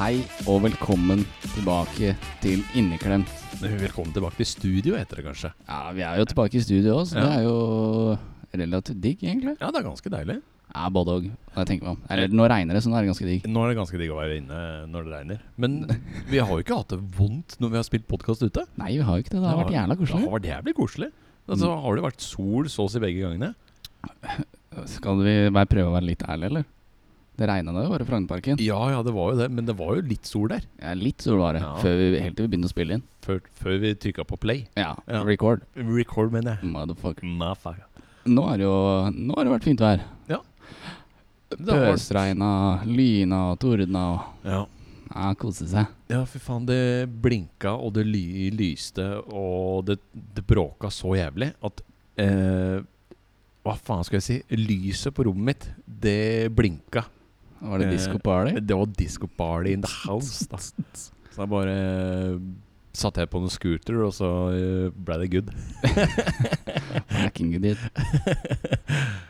Hei og velkommen tilbake til Inneklemt. Velkommen tilbake til studio, heter det kanskje. Ja, vi er jo tilbake i studio også, så Ja. det er jo relativt digg, egentlig. Ja, det er ganske deilig. Ja, både og. Jeg tenker meg om. Eller nå regner det, så nå er det ganske digg. Nå er det ganske digg å være inne når det regner. Men vi har jo ikke hatt det vondt når vi har spilt podkast ute. Nei, vi har jo ikke det. Det har vært jævla Det koselig. har vært jævlig koselig. Altså, Har det vært sol så å si begge gangene? Skal vi bare prøve å være litt ærlige, eller? Det regna da jo bare i Frognerparken. Ja ja, det var jo det. Men det var jo litt sol der. Ja, litt sol var det, Ja. før vi- helt til vi begynte å spille inn. Før, før vi trykka på play. Ja, Ja. record. Record, mener jeg. Motherfucker. Motherfucker. Nå har det jo nå har det vært fint vær. Det har vært- Pøsregna, lyna, tordna og Ja. Ja, kose seg. ja, fy faen. Det blinka, og det ly lyste, og det, det bråka så jævlig at eh, Hva faen skal jeg si? Lyset på rommet mitt, det blinka. Var det Eh, disco party? Det var disco party in the house, da. Så da bare eh, satte jeg på noen scooter, og så eh, ble det good. Hacking it.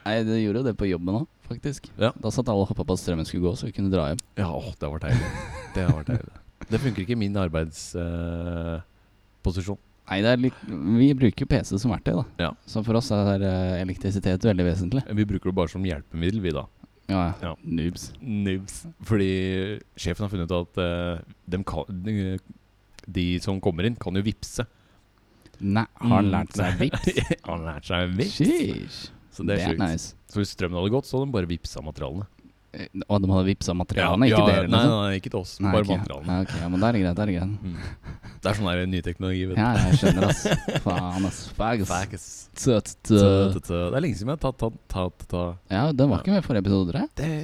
Nei, det gjorde jo det på jobben òg, faktisk. Ja. Da satt alle og hoppa på at strømmen skulle gå, så vi kunne dra hjem. Ja, åh, det var deilig. Det var deilig. Det funker ikke i min eh, arbeidsposisjon. Nei, det er litt, vi bruker jo PC som verktøy, da. Ja. Så for oss er eh, elektrisitet veldig vesentlig. vi bruker det bare som hjelpemiddel, vi da. Ja, ja. Ja. Noobs. Noobs. Fordi sjefen har funnet ut at eh, dem kan, de, de som kommer inn, kan jo vippse. Nei, har han Mm. lært seg vips? Har lært seg vips. Sheesh. Så det er sjukt. nice. Så hvis strømmen hadde gått, så hadde de bare vippsa materialene. Eh, Og de hadde vipsa materialene, ikke dere? nei, liksom? nei, nei, ikke til oss. Nei, bare ok. materialene. Ja, ok, ja, men da er det greit. Da er det greit. Mm. Det er sånn der ny teknologi, vet du. Ja, jeg skjønner, ass. Faen, ass. Fagus. Fags. Søt, Tø, søt. tø, tø. Det er lenge siden jeg har tatt, tatt, tatt, tatt. Ja, den var ikke med i forrige episode, tror jeg. Det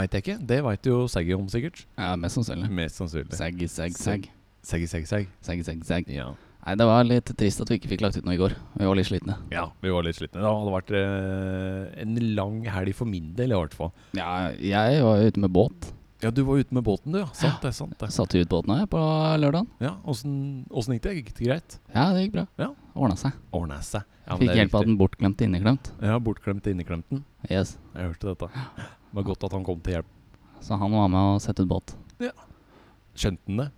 veit jeg ikke. Det veit jo Saggy om, sikkert. Ja, mest sannsynlig. Mest sannsynlig. Sag, sag, sag. Saggy, saggy, sagg. Sag, sag, sag. Ja. Nei, det var litt trist at vi ikke fikk lagt ut noe i går. Vi var litt slitne. ja, vi var litt slitne. Det hadde vært eh, en lang helg for min del, i hvert fall. Ja, jeg var jo ute med båt. Ja, du var ute med båten, du. ja Sant det. sant det Satte ut båten her på lørdagen. Ja, Åssen åssen gikk det? Gikk det greit? Ja, det gikk bra. Ja. Ordna seg. Ordna seg. Ja, men Fikk det er hjelp av viktig. den bortglemte inneklemt. Ja, bortglemt inneklemten. Yes. Jeg hørte dette. Det var godt at han kom til hjelp. Så han var med og sette ut båt. Skjønte han det?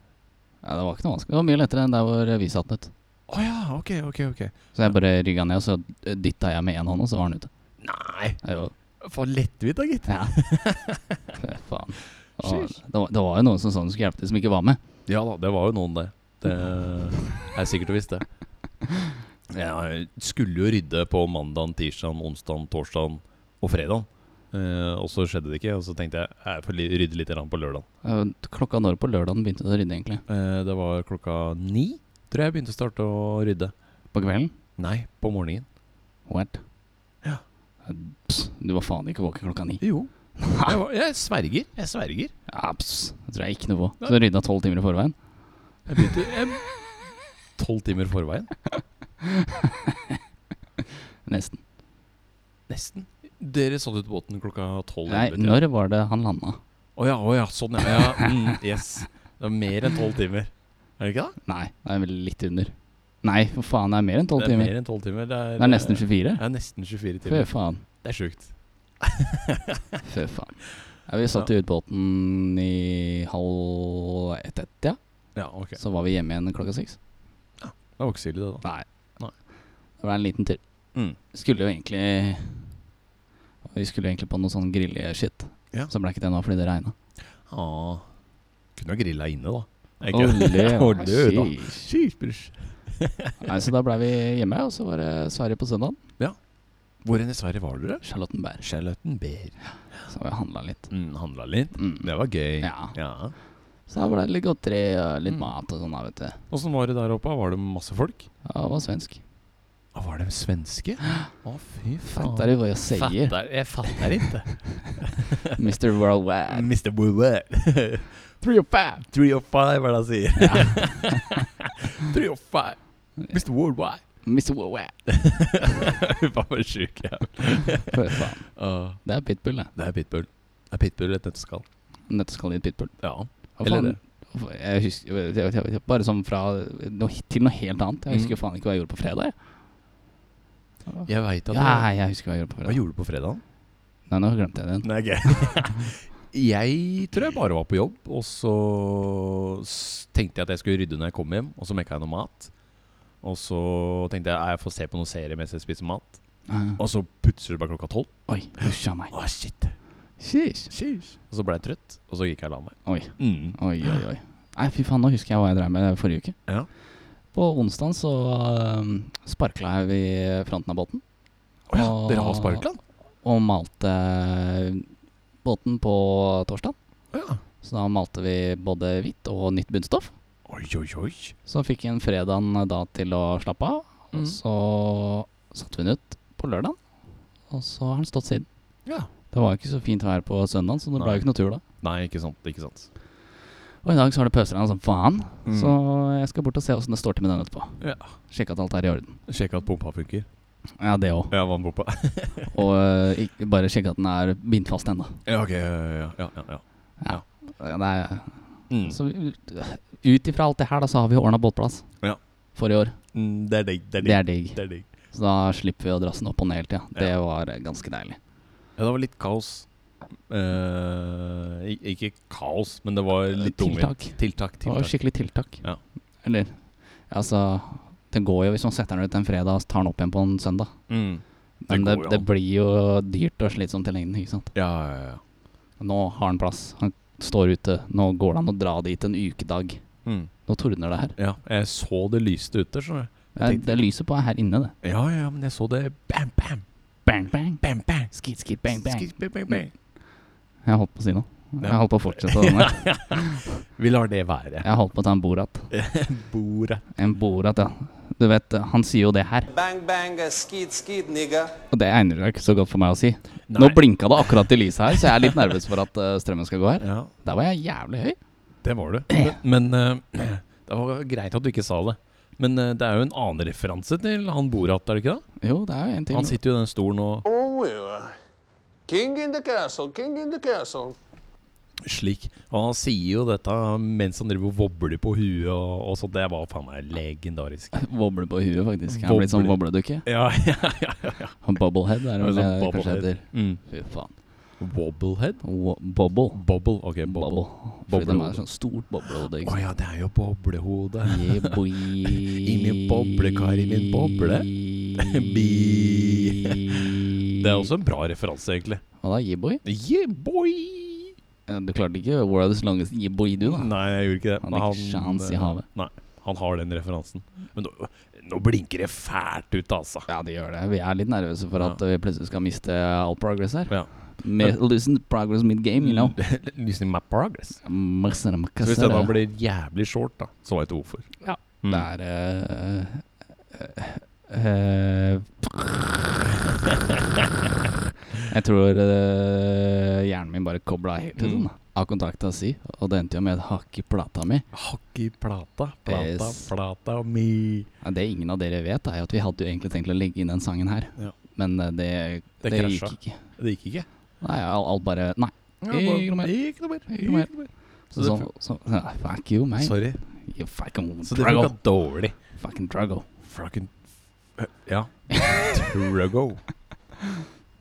Ja, Det var ikke noe vanskelig. Det var mye lettere enn der hvor vi satt ut. Å ja, ok, ok, ok. Så jeg bare rygga ned, og så dytta jeg med én hånd, og så var han ute. Nei, Det var- for lettvint da, gitt. Ja. Fy faen. Det var, det, var, det var jo noen som sa de skulle hjelpe til, som ikke var med. Ja da, det var jo noen det. Det er sikkert og visst, det. Jeg skulle jo rydde på mandag, tirsdag, onsdag, torsdag og fredag. Eh, og så skjedde det ikke, og så tenkte jeg jeg får li- rydde litt grann på lørdag. Eh, Klokka når på lørdagen begynte du å rydde, egentlig? Eh, det var klokka ni, tror jeg jeg begynte å starte å rydde. På kvelden? Nei, på morgenen. What? Eh, Ja. Pss, du var faen ikke våken klokka ni. Jo. Jeg, var, jeg sverger. Jeg sverger. Ja, pss, det tror jeg ikke noe på. Så du rydda tolv timer i forveien? Jeg begynte jeg- tolv timer forveien. Nesten. Nesten. Dere satt ut på båten klokka tolv. Nei, elleve, tror jeg. når var det han landa? Å ja, å ja, sånn ja. ja mm, yes. Det er mer enn tolv timer. Er det ikke det? Nei, det er vel litt under. Nei, for faen, det er mer enn tolv Det er timer. mer enn 12 timer. Det er, Det er nesten 24. Det er nesten 24 Fy timer. faen. Det er sjukt. Fy faen. Ja, vi satt i utbåten i halv ett-ett, ja. Ja, ok. Så var vi hjemme igjen klokka seks. Det var ikke så ille, det, da. Nei. Nei. Det var en liten tur. Mm. Skulle jo egentlig Vi skulle egentlig på noe sånn grilleshit. Ja. Så ble ikke det nå fordi det regna. Ah. Kunne ha grilla inne, da. Er ikke det? Olje, Olje, da. sheesh. Sheesh, brors. Nei, Så da blei vi hjemme, og så var det Sverige på søndagen. Hvor enn i Sverige var dere? Charlottenberg. Charlottenberg. Så har vi handla litt. Mm, handla litt. Mm. Det var gøy. Ja. Så da ble det litt godteri og litt Mm. mat og sånn, da, vet du. Åssen var det der oppe? Var det masse folk? Ja, det var svensk. Ah, var de svenske? Å, fy faen. Fattar du hva jeg sier? Fattar- Jeg fatter ikke. Mr. Worldwide. Mr. Bullet. Three or five. Three of five, er det han sier. Three of five. Mr. Worldwide. Mr. Worldwide. Hva for sjuk jeg er. Fy faen. Åh, Det er pitbull, det. Det er pitbull. Er pitbull et nøtteskall? Nøtteskall i et pitbull. Ja. Hva Eller faen? Jeg husker, jeg vet- jeg vet- jeg vet- bare sånn fra noe, til noe helt annet. Jeg husker Mhm. faen ikke hva jeg gjorde på fredag. Jeg. Jeg veit at Ja, jeg husker hva jeg gjorde på Hva fredag. gjorde du på fredagen? Nei, nå glemte jeg den. Nei, gøy. jeg tror jeg bare var på jobb, og så s- tenkte jeg at jeg skulle rydde når jeg kom hjem, og så mekka jeg noe mat. Og så tenkte jeg at jeg får se på noen serie mens jeg spiser mat. Ah. Og så plutselig var det bare klokka tolv. Oi, husja meg. Å, shit. Sheesh. Og så ble jeg trøtt, og så gikk jeg og la meg. Oi. Mm. Oi, oi, oi. Nei, fy faen, nå husker jeg hva jeg drev med eh, forrige uke. Ja. På onsdag så um, sparkla jeg ved fronten av båten Å ja, Og- dere har sparkland? og malte eh, båten på torsdag. Å ja. Så da malte vi både hvitt og nytt bunnstoff. Oi, oi, oi. Så fikk jeg en fredagen da til å slappe av. Og Mm. så satte vi den ut på lørdag, og så har den stått siden. Ja. Det var jo ikke så fint vær på søndag, så det ble Nei. jo ikke noe tur da. Nei, ikke sant. Ikke sant. Og i dag så har det pøsregna som faen, Mm. så jeg skal bort og se åssen det står til med den etterpå. Ja. Sjekke at alt er i orden. Sjekke at pumpa funker. Ja, det òg. Ja, vannpumpa. Og øh, ikke bare sjekke at den er bindt fast ennå. ja, ok. Ja, ja, ja. ja. Ja, det er- Mm. Så ut- ut ifra alt det her, da, så har vi ordna båtplass Ja. for i år. Mm, det er digg. Det er Det digg. er digg. Det er digg. Så da slipper vi å drasse den opp og ned hele tida. Det var eh, ganske deilig. Ja, det var litt kaos. Eh, ik- ikke kaos, men det var litt tungvint. Eh, tiltak. Tiltak. Det var tiltak. skikkelig tiltak. Ja. Eller altså Det går jo hvis man setter den ut en fredag og tar den opp igjen på en søndag. Mm. Men det, går jo det an. blir jo dyrt og slitsomt i lengden. ikke sant? Ja, ja, ja. Nå har han plass. Han står ute. Nå går det an å dra dit en ukedag. Mm. Nå tordner det her. ja. Jeg så det lyste ute, skjønner Det, er- det er lyset på er her inne, det. du. Ja, ja, men jeg så det bam, bam. Bang, bang. Bam, bam. Skit, skit, bang, bang. Skit, bang, bang, bang. Jeg holdt på å si noe. Jeg Ja. holdt på å fortsette den der. Vi lar det være. Jeg holdt på å ta en Borat. Bordet. En Borat, ja. Du vet, han sier jo det her. Bang bang, uh, skeet skeet, nigga. Og det egner seg ikke så godt for meg å si. Nå blinka det akkurat i lyset her, så jeg er litt nervøs for at eh, strømmen skal gå her. Ja, Der var jeg jævlig høy. det var du. Men, men, eh, det var greit at du ikke sa det. Men eh, det er jo en annen referanse til han Borat, er det ikke det? Jo, det er jo en ting. Han sitter jo i den stolen og Oh, well. uh, King in the castle, king in the castle. Slik. Og han sier jo dette mens han driver og vobler på huet og, og sånt. Det var faen meg legendarisk. Wobbler på huet, faktisk. Han er blitt sånn wobledukke. Ja, ja, ja. Han Bobblehead er Mm, det vel Sånn det kanskje bobblehead. heter. Mm. Fy faen. Wobblehead? Wo- Bobble. Bobble. Ok, bobble. Bobble. Fordi de Boblehode. er sånn stort boblehode. Å ikke sant? ja, det er jo boblehode. Yeah, boy. min boblekar, i min boble. Bi. Det er også en bra referanse, egentlig. Hva da, yeah boy? Yeah, boy! Eh, Du klarte ikke World's longest yeah boy, du, da. Nei, jeg gjorde ikke det. Ah. Han Men er ikke sjans i eh, havet. Nei, han har den referansen. Men nå, nå blinker det fælt ut, altså. Ja, det gjør det. Vi er litt nervøse for at Ja. vi plutselig skal miste all progress her. Ja. Me- Listen to progress mid game, you know. Losing my progress. Massere, Så hvis massere. denne blir jævlig short, da, så veit du hvorfor. Ja. Mm. Det er eh, eh, eh, Jeg tror eh, hjernen min bare kobla helt ut. Mm. Mm. Av kontakta si, og det endte jo med et hakk i plata mi. Hakk i plata, plata, Yes. plata mi. Ja, Det ingen av dere vet, er jo at vi hadde jo egentlig tenkt å legge inn den sangen her, Ja. men eh, det, Det det, krasja. gikk ikke. Det gikk ikke. Nei, alt, alt bare Nei. Ikke noe mer. Ikke noe mer. Ikke noe mer. Så Så, det så, så, ja, fuck you, man. Sorry. You fucking Så det funka druggle. dårlig. Fucking druggle. Fucking eh, Ja. Trugo.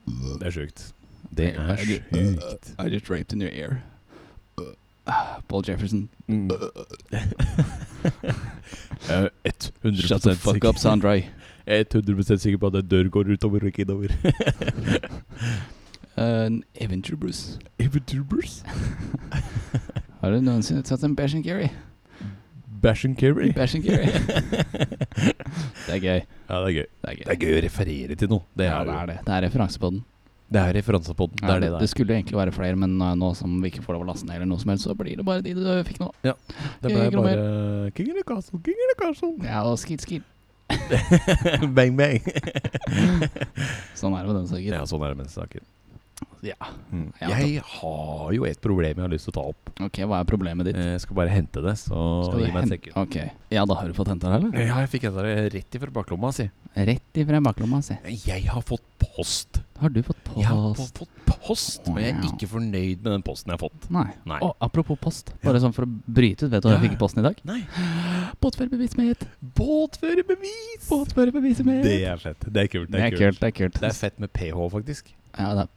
Det er sjukt. Det er sjukt. I just raped in your ear. Uh, Paul Jefferson. Mm. Jeg er 100 Shut the fuck up, sikker- Sandray. Jeg er 100 sikker på at en dør går utover og ikke innover. En Uh, eventyr, Bruce. Eventubers? Har du noensinne tatt en Bash and Carry? Bash and carry? Bash and Carry. det er gøy. Ja, det er gøy. Det er gøy. Det er gøy å referere til noe. Det er, ja, det, er det. det er referanse på den. det er referanser på den. Det er det det er. skulle jo egentlig være flere, men nå, nå som vi ikke får lov å laste ned, eller noe som helst, så blir det bare de du fikk nå. Det ble Ikke noe bare King of the Castle, King of the Castle. Ja, og skit, skit. bang, bang. Sånn er det med den saken. Ja, sånn er det med saken. Ja. Mm. Ja, Jeg har jo et problem jeg har lyst til å ta opp. Ok, hva er problemet ditt? Eh, Jeg skal bare hente det, så Skal du gi meg en hen- sekund. Ok. Ja, da har du fått henta det, eller? Ja, jeg fikk henta det rett ifra baklomma, si. Rett ifra baklomma, si. Jeg har fått post. Har du fått post? Jeg har fått, fått post, men jeg er ikke fornøyd med den posten jeg har fått. Nei. Nei. Og apropos post, bare sånn for å bryte ut. Vet du hva Ja, jeg fikk i ja. posten i dag? Nei. Båtførerbevis med. Båtførerbevis! Båtførerbevis med. Det er fett. Det er kult. Det er kult. Det er kult. Det er fett med ph, faktisk. Ja, det er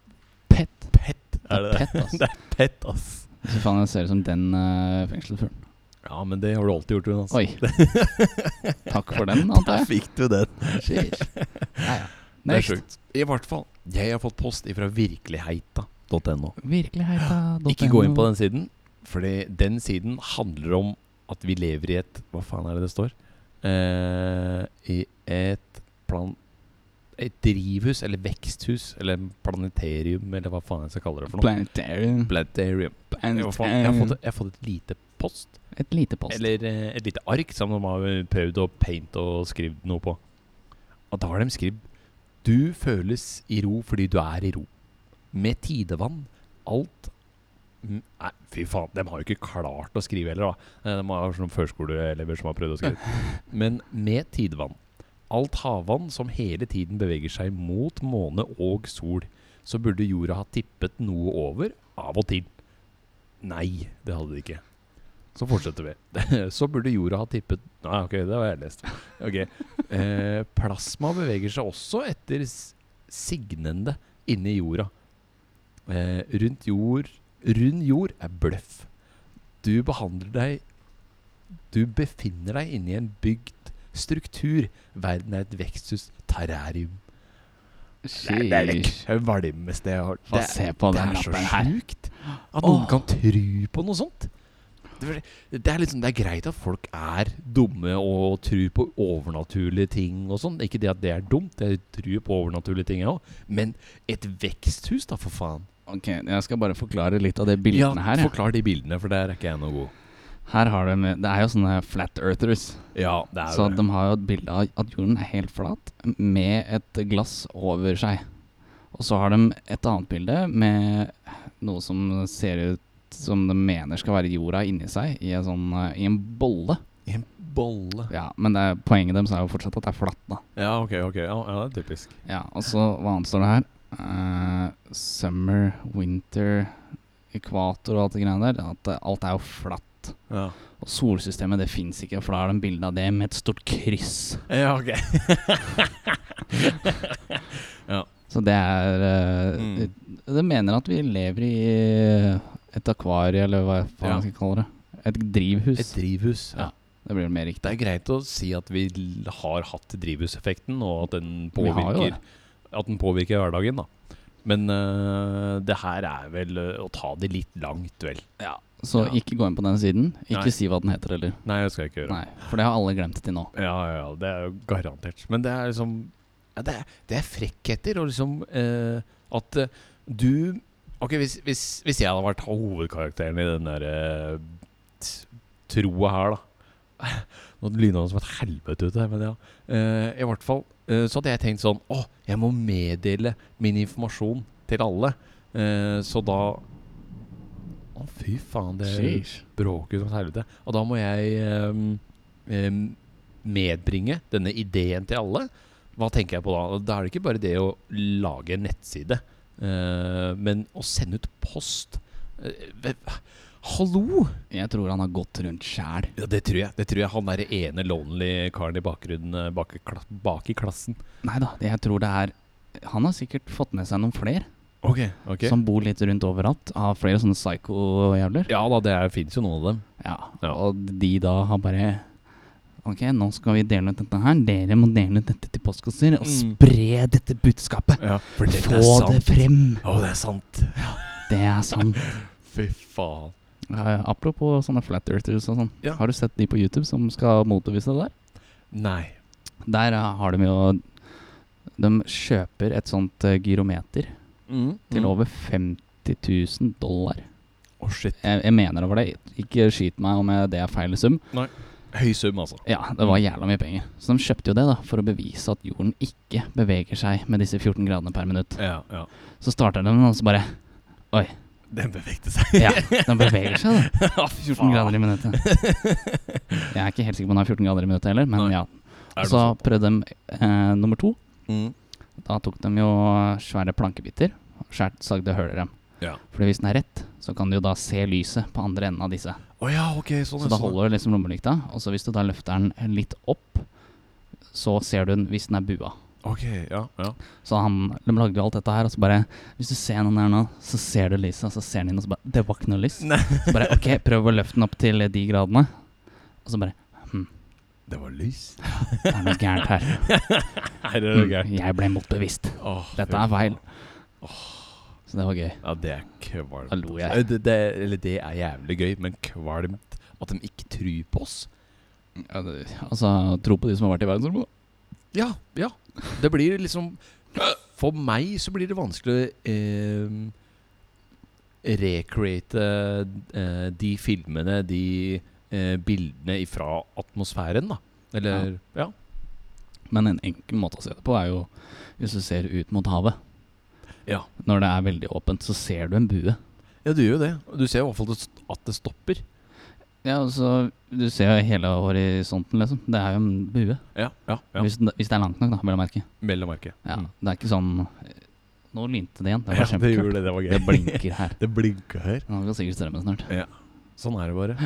pett. Pett. Det er pett, ass. det er pett, ass. Fy faen, jeg ser ut som den uh, fengselsfuglen. Ja, men det har du alltid gjort, Jonas. Oi. Takk for den, antar Der jeg. fikk du den. Sheesh. Ja, ja. Det er Next. sjukt. I hvert fall. Jeg har fått post ifra virkeligheta.no. Virkeligheta.no. Ikke gå inn på den siden, Fordi den siden handler om at vi lever i et Hva faen er det det står? Eh, I et plan... Et drivhus, eller veksthus, eller planeterium, eller hva faen jeg skal kalle det for noe. Planetarium. Planetarium. Jeg, har fått, jeg, har Planetarium. fått, jeg har fått et lite post, Et lite post. eller eh, et lite ark, som de har prøvd å painte og skrevet noe på. Og da har de skrevet Du føles i ro fordi du er i ro. Med tidevann. Alt Mm, Nei, fy faen. De har jo ikke klart å skrive heller, da. Eh, De har sånne førskoleelever som har prøvd å skrive. Men med tidevann. Alt havvann som hele tiden beveger seg mot måne og sol, så burde jorda ha tippet noe over av og til. Nei, det hadde det ikke. Så fortsetter vi. Så burde jorda ha tippet Nei, ok, det har jeg lest. Ok. Eh, plasma beveger seg også etter s- signende inni jorda. Eh, rundt jord Rund jord er bløff. Du behandler deg Du befinner deg inni en bygd struktur. Verden er et veksthus. Terrarium. Det er det Sheesh. kvalmeste jeg har hørt. Få se på det den er så lappen her. sjukt at noen Åh. kan tro på noe sånt. Det er, det, er liksom, det er greit at folk er dumme og tror på overnaturlige ting og sånn. Ikke det at det er dumt, jeg tror på overnaturlige ting, jeg òg. Men et veksthus, da, for faen. Ok, jeg skal bare forklare litt av de bildene ja, her. Ja. Forklar de bildene, for der er ikke jeg noe god. Her har de, Det er jo sånne flat earthers. Ja, det er Så jo det. de har jo et bilde av at jorden er helt flat, med et glass over seg. Og så har de et annet bilde med noe som ser ut som de mener skal være jorda inni seg, i en, sånn, eh, i en bolle. I en bolle. Ja, Men det er, poenget deres er jo fortsatt at det er flatt, da. Ja, ok, ok. Ja, ja det er typisk. Ja, Og så hva annet står det her? Eh, summer, winter, ekvator og alt det greiene der. At eh, alt er jo flatt. Ja, Og solsystemet det fins ikke, for da har de bilde av det med et stort kryss. ja ok. Så det er eh, Mm. Det mener at vi lever i et akvarie, eller hva faen Ja. jeg skal kalle det. Et drivhus. Et drivhus. Ja. det blir mer riktig. Det er greit å si at vi l- har hatt drivhuseffekten, og at den Vi har jo påvirker, at den påvirker hverdagen. da. Men øh, det her er vel øh, å ta det litt langt, vel. Så Ja. ikke gå inn på den siden. Ikke Nei. si hva den heter heller. Nei, det skal jeg ikke gjøre. Nei, for det har alle glemt til nå. Ja, ja, ja, det er jo garantert. Men det er liksom ja, det, er, det er frekkheter, og liksom eh, at eh, du Ok, hvis, hvis, hvis jeg hadde vært hovedkarakteren i den der eh, t- troa her, da Nå lyna det som et helvete ut her, men ja. Eh, I hvert fall eh, så hadde jeg tenkt sånn Å, jeg må meddele min informasjon til alle. Eh, så da Å, fy faen, det bråker som et helvete. Og da må jeg ehm, ehm, medbringe denne ideen til alle. Hva tenker jeg på da? Da er det ikke bare det å lage en nettside, eh, men å sende ut post. Eh, ve- Hallo! Jeg tror han har gått rundt sjæl. Ja, det tror jeg. Det tror jeg Han er den ene lonely karen i bakgrunnen eh, bak, i kla- bak i klassen. Nei da, jeg tror det er Han har sikkert fått med seg noen flere Ok, sånn. ok som bor litt rundt overalt. Av flere sånne psycho-jævler. Ja da, det fins jo noen av dem. Ja. Ja. Og de da har bare Ok, nå skal vi dele ut dette her. Dere må dele ut dette til postkasser og Mm. spre dette budskapet. for det, det er Få det sant. frem! Å, det er sant. Det er sant. Fy faen. Eh, apropos sånne flat earthers og sånn. Ja. Har du sett de på YouTube som skal motbevise det der? Nei. Der eh, har de jo De kjøper et sånt eh, gyrometer Mm, til over 50 000 dollar. Å, shit. Jeg, jeg mener over det. Ikke skyt meg om jeg, det er feil sum. Høy sum, altså. Ja, det var jævla mye penger. Så de kjøpte jo det da, for å bevise at jorden ikke beveger seg med disse 14 gradene per minutt. Ja, ja. Så starter de den, og så bare Den bevegte seg. Ja, den beveger seg, da. Ja, 14 grader i minuttet. Jeg er ikke helt sikker på om den er 14 grader i minuttet heller, men Nei. ja. Så Mm. prøvde de eh, nummer to. Da tok de jo svære plankebiter skjært sagde høler dem. Ja. Fordi hvis den er rett, så kan du jo da se lyset på andre enden av disse. Å ja, ok, sånn Så da holder du liksom lommelykta, og så hvis du da løfter den litt opp, så ser du den hvis den er bua. Ok, ja, ja. Så han de lagde jo alt dette her, og så bare Hvis du ser den der nå, så ser du lyset, og så ser den inn, og så bare Det var ikke noe lys. Nei. Så bare OK, prøv å løfte den opp til de gradene. Og så bare Det var lys. Det er noe gærent her. Nei, det er Mm, gærent. jeg ble motbevist. Åh, Dette fy er feil. faen. Så det var gøy. Ja, det er kvalmt. Da lo jeg. Eh, Det, det, eller det er jævlig gøy, men kvalmt at de ikke tror på oss. Ja, det- Altså, tro på de som har vært i verdensrommet. Ja, ja. Det blir liksom For meg så blir det vanskelig å eh, recreate eh, de filmene, de eh, bildene ifra atmosfæren, da. Eller Ja. Men en enkel måte å se det på er jo hvis du ser ut mot havet. Ja, Når det er veldig åpent, så ser du en bue. ja du gjør jo det. Du ser i hvert fall det st- at det stopper. Ja, altså, Du ser jo hele horisonten, liksom. Det er jo en bue. Ja, ja, Hvis, den- hvis det er langt nok, da, vel å merke. Mellom merket. Ja, Mm. Det er ikke sånn eh, Nå lynte det igjen. Det var Ja, det kjempekult. gjorde det. Det var gøy. Det blinker her. det blinka her. Han kan sikkert strømmen snart. Sånn er det bare.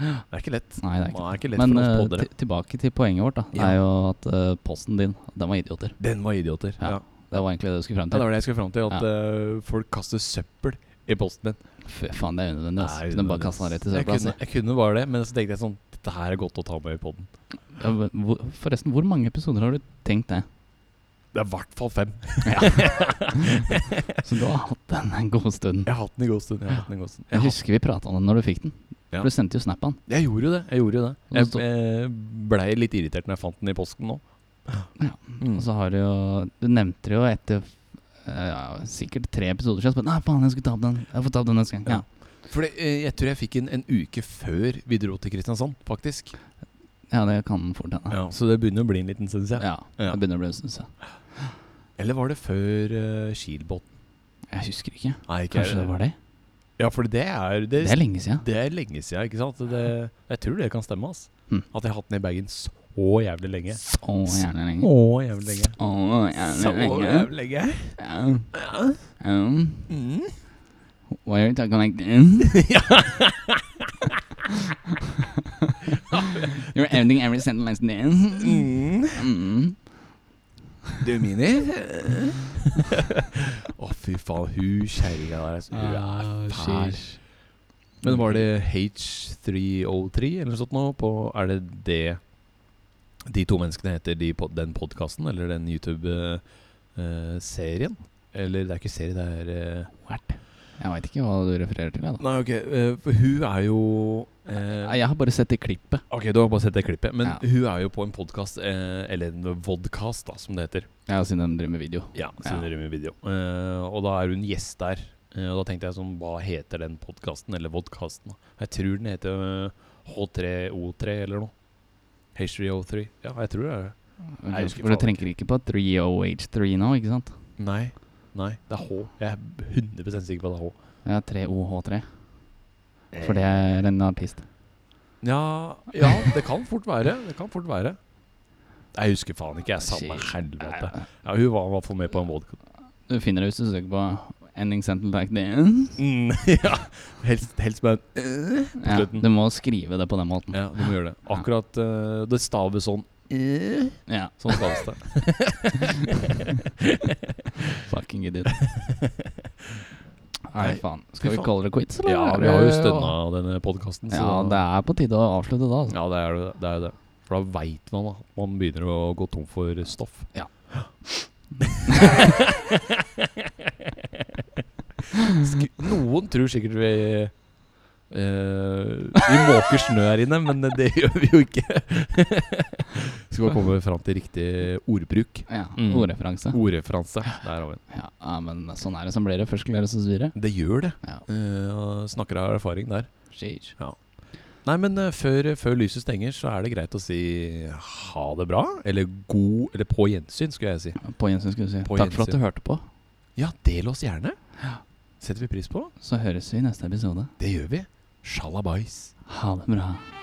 Det er ikke lett. Nei, det er ikke Det er ikke lett Men for oss eh, poddere. til- tilbake til poenget vårt. da Det Ja. er jo at eh, posten din, den var idioter. Den var idioter. Ja. Ja. Det var egentlig det du skulle frem Ja, til. det var det jeg skulle fram til. At eh, folk kaster søppel i posten din. Fy faen, det er unødvendig. ass. Nei, Kunne bare det- kasta den rett i jeg søpla. kunne, jeg kunne bare det, men så tenkte jeg sånn Dette her er godt å ta med i poden. ass. Ja, men hvor- Forresten, hvor mange episoder har du tenkt det? Det er i hvert fall fem. Så du har hatt den en god stund. Jeg har hatt den i god stund. Jeg har hatt den i god stund. Jeg, Jeg har- husker vi prata om den når du fikk den. Ja. For du sendte jo snap av den. jeg gjorde jo det. Jeg gjorde jo det. Og Jeg, så- jeg blei litt irritert når jeg fant den i posten nå. Ja. Mm. Og så har du jo Du nevnte det jo etter eh, ja, sikkert tre episoder siden. så bare, Nei, faen, jeg skulle ta opp den. Jeg får ta opp den neste gang. Ja. Ja. Fordi, eh, jeg tror jeg fikk den en uke før vi dro til Kristiansand, faktisk. ja, det kan fort hende. Ja. Så det begynner å bli en liten stund siden. Ja. Ja. Det begynner å bli en stund siden. Eller var det før uh, Kilbotn? Jeg husker ikke. Nei, ikke Kanskje det var det? Ja, for det er Det er lenge siden. Det er lenge siden, ikke sant? Det, jeg tror det kan stemme. ass Hmm. At jeg har hatt den i bagen så jævlig lenge. Å, gjerne lenge. Å, jævlig lenge. Å, Så gjerne lenge. jævlig lenge. Ja. Um, Mm. why are you talking like this? You're ending every sentence like this. Mm. Mm. Du mini. Å, fy faen. Hun kjerringa der. altså, Hun er fæl. Men var det H303 eller noe sånt nå? På, er det det de to menneskene heter, de, pod- den podkasten eller den YouTube-serien? eller det er ikke serie, det er eh, What? Jeg veit ikke hva du refererer til. Jeg, da. Nei, ok, eh, for hun er jo eh, Nei, jeg har bare sett det klippet. Ok, du har bare sett det klippet Men Ja. hun er jo på en podcast eh, Eller en vodcast da, som det heter Ja, Siden de driver med video. Ja, siden det rømmer video eh, Og da er hun gjest der eh, Og da tenkte jeg sånn, hva heter den podcasten Eller vodcasten da? Jeg tror den heter eh, H3O3 eller noe H3O3 Ja, jeg tror det er det Nei, jeg husker For du faen tenker ikke på 3OH3 nå, ikke sant? Nei, nei, det er H Jeg er 100% sikker på at det er H Ja, 3OH3. For det Eh. er en artist. Ja, ja det kan fort være. Det kan fort være. Jeg husker faen ikke. Jeg samme Shit. helvete. Ja, hun var i hvert fall med på en vodka. Du finner det hvis du søker på 'ending sentence like this'. Mm, ja. helst, helst med Ja, slutten. du må skrive det på den måten. Ja, du må gjøre det. Akkurat eh, Det staves sånn. Ja, Sånn staves det. fucking idiot. Nei, faen. Skal vi faen. kalle det quits, eller? Ja, vi har jo stønna denne podkasten, så Ja, det er på tide å avslutte da. Altså. ja, det er jo det. det, er jo det. For da veit man at man begynner å gå tom for stoff. Ja. Sk- Noen tror sikkert vi eh, Vi måker snø her inne, men det gjør vi jo ikke. Skal bare komme fram til riktig ordbruk. Ja, Mm. Ordreferanse. Ordreferanse. Der har vi den. Ja, ja, men sånn er det som blir det. Først læres å svire. Det gjør det. Ja. Eh, og snakker av erfaring der. Sheesh. Nei, men eh, før, før lyset stenger, så er det greit å si ha det bra. Eller god Eller på gjensyn, skulle jeg si. På gjensyn, skulle du si. På Takk for at gjensyn. du hørte på. Ja, del oss gjerne. Setter vi pris på. Så høres vi i neste episode. Det gjør vi. Sjalabais. Ha det bra.